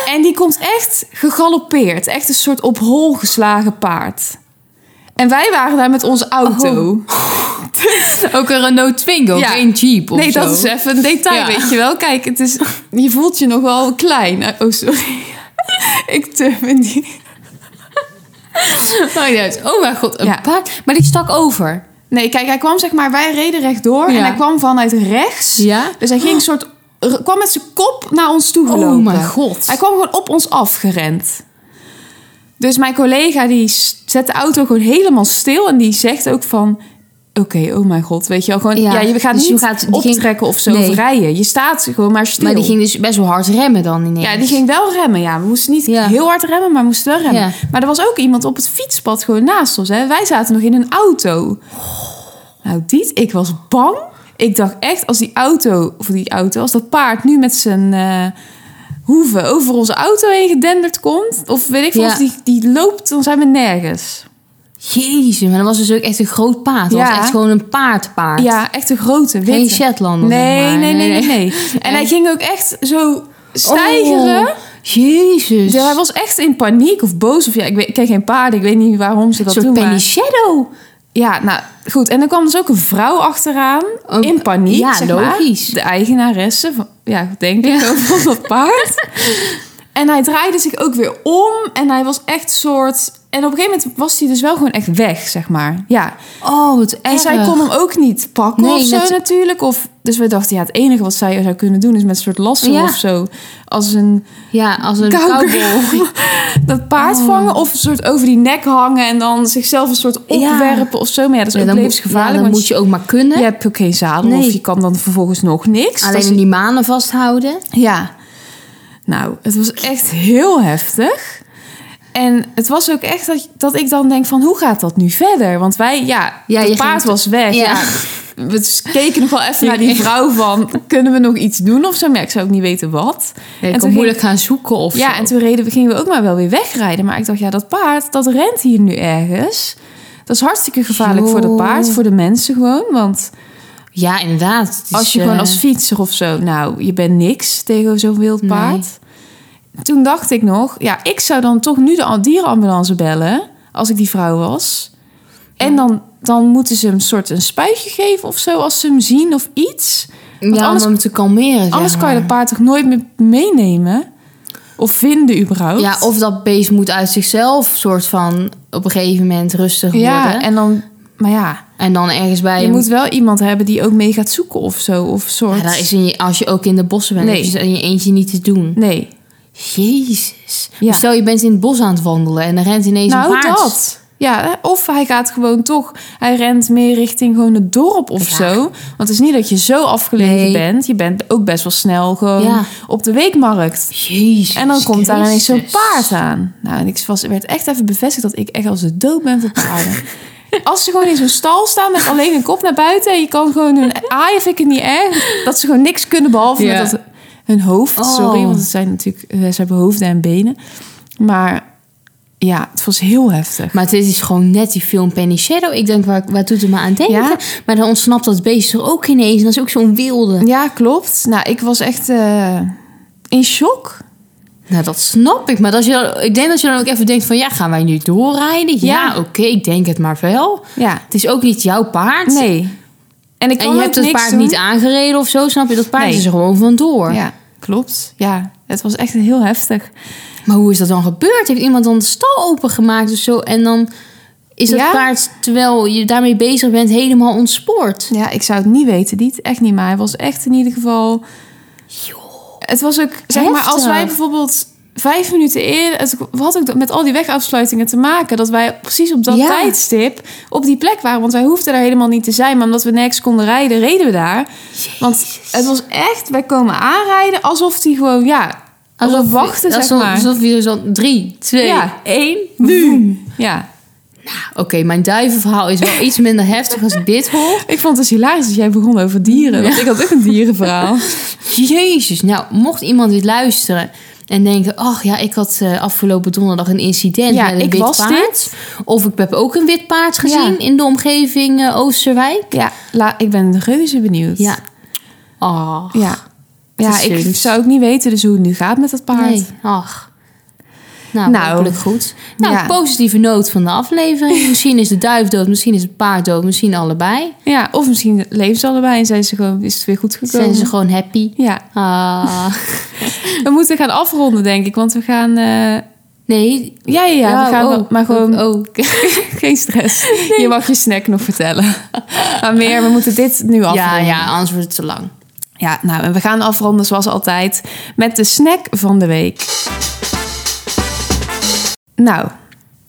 Speaker 1: En die komt echt gegaloppeerd. Echt een soort op hol geslagen paard. En wij waren daar met onze auto.
Speaker 2: Ook een Renault Twingo,
Speaker 1: Ja.
Speaker 2: geen Jeep of
Speaker 1: Nee,
Speaker 2: zo.
Speaker 1: dat is even een detail,
Speaker 2: Ja.
Speaker 1: weet je wel. Kijk, het is, je voelt je nog wel klein. Oh, sorry. Ik turf in die...
Speaker 2: Maakt niet uit. Oh mijn god, een
Speaker 1: Ja.
Speaker 2: paard. Maar die stak over.
Speaker 1: Nee, kijk, hij kwam zeg maar... Wij reden rechtdoor
Speaker 2: Ja.
Speaker 1: en hij kwam vanuit rechts.
Speaker 2: Ja?
Speaker 1: Dus hij ging een soort... r- kwam met zijn kop naar ons toe gelopen.
Speaker 2: Oh mijn god.
Speaker 1: Hij kwam gewoon op ons afgerend. Dus mijn collega die s- zet de auto gewoon helemaal stil. En die zegt ook van... Oké, oh mijn god, weet je wel. Gewoon, ja.
Speaker 2: Ja,
Speaker 1: je gaat
Speaker 2: dus je
Speaker 1: niet
Speaker 2: gaat- die ging-
Speaker 1: optrekken of zo
Speaker 2: Nee.
Speaker 1: of rijden. Je staat gewoon maar stil.
Speaker 2: Maar die ging dus best wel hard remmen dan ineens.
Speaker 1: Ja, die ging wel remmen. Ja, we moesten niet
Speaker 2: Ja.
Speaker 1: heel hard remmen, maar we moesten wel remmen.
Speaker 2: Ja.
Speaker 1: Maar er was ook iemand op het fietspad gewoon naast ons. Hè. Wij zaten nog in een auto. Nou, Diet, ik was bang. Ik dacht echt, als die auto, of die auto, als dat paard nu met zijn eh, hoeven over onze auto heen gedenderd komt. Of weet ik veel,
Speaker 2: Ja.
Speaker 1: als die, die loopt, dan zijn we nergens.
Speaker 2: Jezus, maar dat was dus ook echt een groot paard. Dat
Speaker 1: Ja.
Speaker 2: was echt gewoon een paardpaard.
Speaker 1: Ja, echt een grote witte.
Speaker 2: Geen Shetlander.
Speaker 1: nee,
Speaker 2: zeg maar.
Speaker 1: nee, nee, nee, nee. En hij ging ook echt zo stijgeren.
Speaker 2: Oh, Jezus.
Speaker 1: Dus Ja, hij was echt in paniek of boos. Of ja, ik, weet, ik ken geen paarden. Ik weet niet waarom ze
Speaker 2: een
Speaker 1: dat
Speaker 2: soort
Speaker 1: doen. maar-
Speaker 2: Penny Shadow.
Speaker 1: Ja, nou goed. En dan kwam dus ook een vrouw achteraan.
Speaker 2: Ook-
Speaker 1: in paniek.
Speaker 2: ja,
Speaker 1: zeg maar.
Speaker 2: logisch.
Speaker 1: De eigenaresse van, ja, denk ik, ook van dat paard. En hij draaide zich ook weer om. En hij was echt soort. En op een gegeven moment was hij dus wel gewoon echt weg, zeg maar. Ja.
Speaker 2: Oh, wat
Speaker 1: En
Speaker 2: erg.
Speaker 1: zij kon hem ook niet pakken
Speaker 2: Nee,
Speaker 1: of zo
Speaker 2: net-
Speaker 1: natuurlijk. Of, dus we dachten, ja, het enige wat zij zou kunnen doen... is met een soort lasso
Speaker 2: Ja.
Speaker 1: of zo. Als een
Speaker 2: Ja, als een
Speaker 1: Kauwgom.
Speaker 2: cowboy.
Speaker 1: dat paard
Speaker 2: Oh.
Speaker 1: vangen of een soort over die nek hangen en dan zichzelf een soort
Speaker 2: Ja.
Speaker 1: opwerpen of zo. Maar ja, dat is
Speaker 2: Ja,
Speaker 1: ook
Speaker 2: dan, moet, ja,
Speaker 1: levensgevaarlijk.
Speaker 2: dan
Speaker 1: want
Speaker 2: moet je ook maar kunnen.
Speaker 1: je hebt ook geen zadel
Speaker 2: Nee.
Speaker 1: of je kan dan vervolgens nog niks. Dat
Speaker 2: Alleen
Speaker 1: is-
Speaker 2: die manen vasthouden.
Speaker 1: ja. Nou, het was echt heel heftig. En het was ook echt dat, dat ik dan denk van hoe gaat dat nu verder? Want wij, ja,
Speaker 2: Ja,
Speaker 1: het
Speaker 2: je ging
Speaker 1: paard
Speaker 2: te-
Speaker 1: was weg.
Speaker 2: Ja.
Speaker 1: Ja. We keken nog wel even
Speaker 2: Je
Speaker 1: naar die
Speaker 2: ging-
Speaker 1: vrouw van... kunnen we nog iets doen of zo? Maar ja, ik zou ook niet weten wat.
Speaker 2: Je
Speaker 1: toen
Speaker 2: kan
Speaker 1: ging-
Speaker 2: moeilijk gaan zoeken of
Speaker 1: Ja,
Speaker 2: zo.
Speaker 1: en toen reden we, gingen we ook maar wel weer wegrijden. Maar ik dacht, ja, dat paard, dat rent hier nu ergens. Dat is hartstikke gevaarlijk voor dat
Speaker 2: Joh.
Speaker 1: paard, voor de mensen gewoon. Want
Speaker 2: Ja, inderdaad. Het is,
Speaker 1: als je gewoon
Speaker 2: eh,
Speaker 1: als fietser of zo, nou, je bent niks tegen zo'n wild
Speaker 2: Nee.
Speaker 1: paard. Toen dacht ik nog, ja, ik zou dan toch nu de am- dierenambulance bellen, als ik die vrouw was. En dan, dan moeten ze hem soort een spuitje geven of zo, als ze hem zien of iets. want
Speaker 2: ja,
Speaker 1: anders-
Speaker 2: om hem te kalmeren.
Speaker 1: Anders
Speaker 2: zeg
Speaker 1: kan je
Speaker 2: maar.
Speaker 1: dat paard toch nooit meer meenemen? Of vinden überhaupt?
Speaker 2: Ja, of dat beest moet uit zichzelf soort van op een gegeven moment rustig
Speaker 1: Ja,
Speaker 2: worden. En,
Speaker 1: en dan... Maar ja,
Speaker 2: dan ergens bij
Speaker 1: je
Speaker 2: hem-
Speaker 1: moet wel iemand hebben die ook mee gaat zoeken of zo. Of soort...
Speaker 2: Ja, daar is in je, als je ook in de bossen bent,
Speaker 1: Nee.
Speaker 2: is in je eentje niet te doen.
Speaker 1: Nee.
Speaker 2: Jezus.
Speaker 1: Ja.
Speaker 2: Stel, je bent in het bos aan het wandelen en dan rent ineens
Speaker 1: nou,
Speaker 2: een paard.
Speaker 1: dat. Ja, hè, of hij gaat gewoon toch... Hij rent meer richting gewoon het dorp of
Speaker 2: Ja.
Speaker 1: zo. Want het is niet dat je zo afgelegen
Speaker 2: Nee.
Speaker 1: bent. Je bent ook best wel snel gewoon
Speaker 2: Ja.
Speaker 1: op de weekmarkt.
Speaker 2: Jezus.
Speaker 1: En dan komt daar ineens zo'n
Speaker 2: Christus.
Speaker 1: paard aan. Nou, en ik was, werd echt even bevestigd dat ik echt als de dood ben voor paarden. Als ze gewoon in zo'n stal staan met alleen een kop naar buiten... en je kan gewoon hun aaien, vind ik het niet erg. Dat ze gewoon niks kunnen behalve
Speaker 2: Ja.
Speaker 1: met dat, hun hoofd.
Speaker 2: Oh.
Speaker 1: Sorry, want het zijn natuurlijk, eh, ze hebben hoofden en benen. Maar ja, het was heel heftig.
Speaker 2: Maar dit is gewoon net die film Penny Shadow. Ik denk, waar, waar doet het me aan denken?
Speaker 1: Ja.
Speaker 2: Maar dan ontsnapt dat beest er ook ineens. En dat is ook zo'n wilde.
Speaker 1: Ja, klopt. Nou, ik was echt eh, in shock.
Speaker 2: Nou, dat snap ik. Maar dat je dan, ik denk dat je dan ook even denkt van... Ja, gaan wij nu doorrijden? Ja,
Speaker 1: Ja.
Speaker 2: oké, ik denk het maar wel.
Speaker 1: Ja,
Speaker 2: Het is ook niet jouw paard.
Speaker 1: nee. En, ik
Speaker 2: En
Speaker 1: kan
Speaker 2: je
Speaker 1: ook
Speaker 2: hebt het
Speaker 1: niks
Speaker 2: paard
Speaker 1: doen.
Speaker 2: niet aangereden of zo, snap je? Dat paard
Speaker 1: Nee.
Speaker 2: is er gewoon vandoor.
Speaker 1: Ja, klopt. Ja, het was echt heel heftig.
Speaker 2: Maar hoe is dat dan gebeurd? Heeft iemand dan de stal opengemaakt of zo? En dan is dat
Speaker 1: Ja.
Speaker 2: paard, terwijl je daarmee bezig bent, helemaal ontspoord.
Speaker 1: Ja, ik zou het niet weten, niet. Echt niet, maar hij was echt in ieder geval... Het was ook, zeg maar, als
Speaker 2: Heftig.
Speaker 1: wij bijvoorbeeld vijf minuten eerder... Het had ook met al die wegafsluitingen te maken... dat wij precies op dat
Speaker 2: Ja.
Speaker 1: tijdstip op die plek waren. Want wij hoefden daar helemaal niet te zijn. Maar omdat we nergens konden rijden, reden we daar. Want het was echt, wij komen aanrijden alsof die gewoon, ja... Alsof, we wachten, zeg
Speaker 2: alsof,
Speaker 1: maar.
Speaker 2: Alsof je zo drie, twee,
Speaker 1: Ja.
Speaker 2: één.
Speaker 1: nu. Ja.
Speaker 2: Oké, mijn duivenverhaal is wel iets minder heftig als ik dit hoor.
Speaker 1: Ik vond het dus hilarisch dat jij begon over dieren. Want ik had ook een dierenverhaal.
Speaker 2: Jezus, nou, mocht iemand dit luisteren en denken... ach ja, ik had eh, afgelopen donderdag een incident
Speaker 1: Ja,
Speaker 2: met een
Speaker 1: ik
Speaker 2: wit
Speaker 1: was
Speaker 2: paard. Of ik heb ook een wit paard gezien
Speaker 1: Ja.
Speaker 2: in de omgeving eh, Oosterwijk.
Speaker 1: Ja, la, ik ben reuze benieuwd.
Speaker 2: Ja. Ah.
Speaker 1: Ja, ja
Speaker 2: is
Speaker 1: ik
Speaker 2: zoiets.
Speaker 1: zou ook niet weten dus hoe het nu gaat met dat paard.
Speaker 2: Nee, ach. Nou,
Speaker 1: Nou.
Speaker 2: hopelijk goed. Nou,
Speaker 1: Ja.
Speaker 2: positieve noot van de aflevering. Misschien is de duif dood, misschien is het paard dood, misschien allebei.
Speaker 1: Ja, of misschien leven ze allebei en zijn ze gewoon, is het weer goed gekomen.
Speaker 2: Zijn ze gewoon happy.
Speaker 1: Ja,
Speaker 2: Ah.
Speaker 1: we moeten gaan afronden denk ik, want we gaan... eh,
Speaker 2: nee.
Speaker 1: Ja, ja, ja, we
Speaker 2: Oh,
Speaker 1: gaan,
Speaker 2: oh,
Speaker 1: maar gewoon...
Speaker 2: Oh, oh.
Speaker 1: Geen stress. Je mag je snack nog vertellen. Maar meer, we moeten dit nu afronden.
Speaker 2: Ja, ja, anders wordt het te lang.
Speaker 1: Ja, nou, en we gaan afronden zoals altijd met de snack van de week. Nou,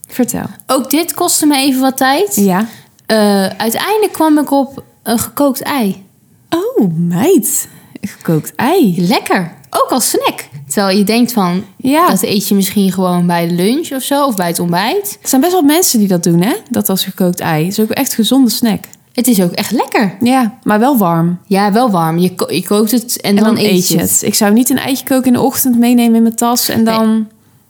Speaker 1: vertel.
Speaker 2: Ook dit kostte me even wat tijd.
Speaker 1: Ja.
Speaker 2: Eh, uiteindelijk kwam ik op een gekookt ei.
Speaker 1: Oh, meid. Gekookt ei.
Speaker 2: Lekker. Ook als snack. Terwijl je denkt van,
Speaker 1: Ja.
Speaker 2: dat eet je misschien gewoon bij de lunch of zo, of bij het ontbijt.
Speaker 1: Er zijn best wel mensen die dat doen, hè? Dat als gekookt ei. is ook echt een gezonde snack.
Speaker 2: Het is ook echt lekker.
Speaker 1: Ja, maar wel warm.
Speaker 2: Ja, wel warm. Je, ko- je kookt het en,
Speaker 1: En, dan, eet je het. Ik zou niet een eitje koken in de ochtend meenemen in mijn tas en dan...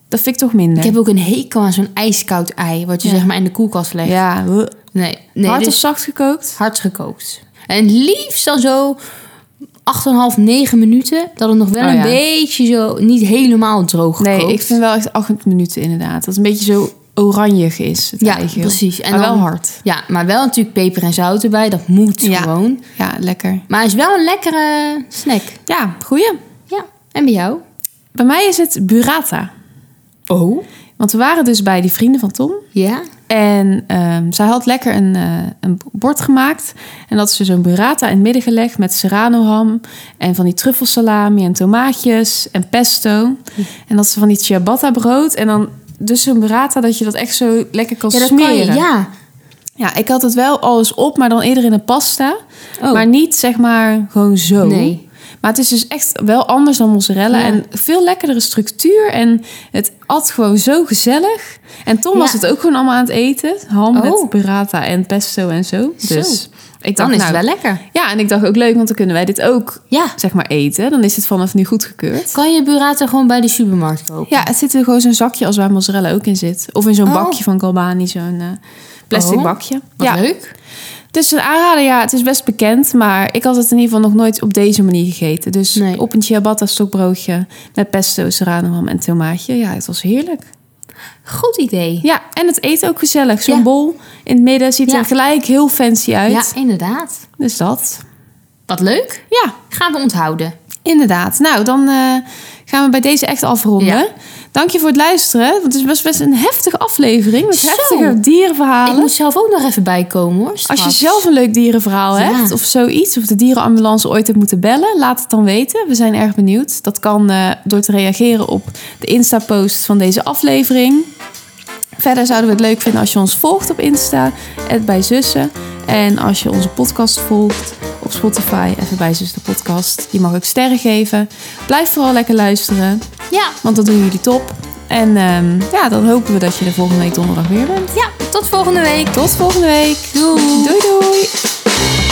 Speaker 1: Dat vind ik toch minder.
Speaker 2: Ik heb ook een hekel aan zo'n ijskoud ei, wat je
Speaker 1: Ja.
Speaker 2: zeg maar in de koelkast legt.
Speaker 1: Ja,
Speaker 2: Nee, dus- nee
Speaker 1: hard
Speaker 2: dit
Speaker 1: of
Speaker 2: is
Speaker 1: zacht gekookt?
Speaker 2: hard gekookt. En liefst dan zo 8,5, 9 minuten, dat het nog wel
Speaker 1: Oh,
Speaker 2: een
Speaker 1: ja.
Speaker 2: beetje zo, niet helemaal droog gekookt.
Speaker 1: Nee, ik vind wel echt 8 minuten inderdaad. Dat het een beetje zo oranjig is, het
Speaker 2: Ja,
Speaker 1: eigeel.
Speaker 2: precies. En
Speaker 1: maar
Speaker 2: dan-
Speaker 1: wel hard.
Speaker 2: Ja, maar wel natuurlijk peper en zout erbij, dat moet
Speaker 1: Ja.
Speaker 2: gewoon.
Speaker 1: Ja, lekker.
Speaker 2: Maar het is wel een lekkere snack.
Speaker 1: Ja, goeie.
Speaker 2: Ja, en bij jou?
Speaker 1: Bij mij is het burrata.
Speaker 2: Oh?
Speaker 1: Want we waren dus bij die vrienden van Tom.
Speaker 2: Ja.
Speaker 1: En ehm, zij had lekker een, eh, een bord gemaakt. En dat is dus een burrata in het midden gelegd met serrano ham. En van die truffelsalami en tomaatjes en pesto. En dat ze van die ciabatta brood. En dan dus een burrata dat je dat echt zo lekker kan
Speaker 2: Ja, dat
Speaker 1: smeren.
Speaker 2: kan je, ja.
Speaker 1: Ja, ik had het wel alles op, maar dan eerder in een pasta.
Speaker 2: Oh.
Speaker 1: Maar niet zeg maar gewoon zo.
Speaker 2: Nee.
Speaker 1: Maar het is dus echt wel anders dan mozzarella.
Speaker 2: Ja.
Speaker 1: En veel lekkerdere structuur. En het at gewoon zo gezellig. En Tom
Speaker 2: Ja.
Speaker 1: was het ook gewoon allemaal aan het eten. Ham
Speaker 2: Oh.
Speaker 1: met burrata en pesto en zo.
Speaker 2: Zo.
Speaker 1: Dus ik dacht
Speaker 2: Dan is
Speaker 1: nou,
Speaker 2: het wel lekker.
Speaker 1: Ja, en ik dacht ook leuk, want dan kunnen wij dit ook
Speaker 2: Ja.
Speaker 1: zeg maar eten. Dan is het vanaf nu goedgekeurd.
Speaker 2: Kan je burrata gewoon bij de supermarkt kopen?
Speaker 1: Ja, het zit er gewoon zo'n zakje als waar mozzarella ook in zit. Of in zo'n
Speaker 2: Oh.
Speaker 1: bakje van Galbani, zo'n eh, plastic
Speaker 2: Oh.
Speaker 1: bakje.
Speaker 2: Wat
Speaker 1: ja.
Speaker 2: leuk.
Speaker 1: Het is een aanrader, ja. Het is best bekend, maar ik had het in ieder geval nog nooit op deze manier gegeten. Dus
Speaker 2: Nee.
Speaker 1: op een ciabatta stokbroodje met pesto, serrano ham en tomaatje. Ja, het was heerlijk.
Speaker 2: Goed idee.
Speaker 1: Ja, en het eten ook gezellig. Zo'n
Speaker 2: Ja.
Speaker 1: bol in het midden ziet
Speaker 2: Ja.
Speaker 1: er gelijk heel fancy uit.
Speaker 2: Ja, inderdaad.
Speaker 1: Dus dat.
Speaker 2: Wat leuk.
Speaker 1: Ja,
Speaker 2: Gaan we onthouden.
Speaker 1: inderdaad. Nou, dan eh, gaan we bij deze echt afronden.
Speaker 2: Ja.
Speaker 1: Dank je voor het luisteren. Want het is best, best een heftige aflevering met
Speaker 2: Zo.
Speaker 1: heftige
Speaker 2: Ik
Speaker 1: dierenverhalen.
Speaker 2: moet zelf ook nog even bijkomen hoor. straks.
Speaker 1: Als je zelf een leuk dierenverhaal
Speaker 2: Ja.
Speaker 1: hebt of zoiets, of de dierenambulance ooit hebt moeten bellen, laat het dan weten. We zijn erg benieuwd. Dat kan eh, door te reageren op de Insta-post van deze aflevering. Verder zouden we het leuk vinden als je ons volgt op Insta, het bij zussen. En als je onze podcast volgt op Spotify, even bij zussen de podcast. Je mag ook sterren geven. Blijf vooral lekker luisteren,
Speaker 2: Ja.
Speaker 1: want dat doen jullie top. En ehm, ja, dan hopen we dat je er volgende week donderdag weer bent.
Speaker 2: ja, tot volgende week.
Speaker 1: Tot volgende week.
Speaker 2: Doei.
Speaker 1: Doei doei.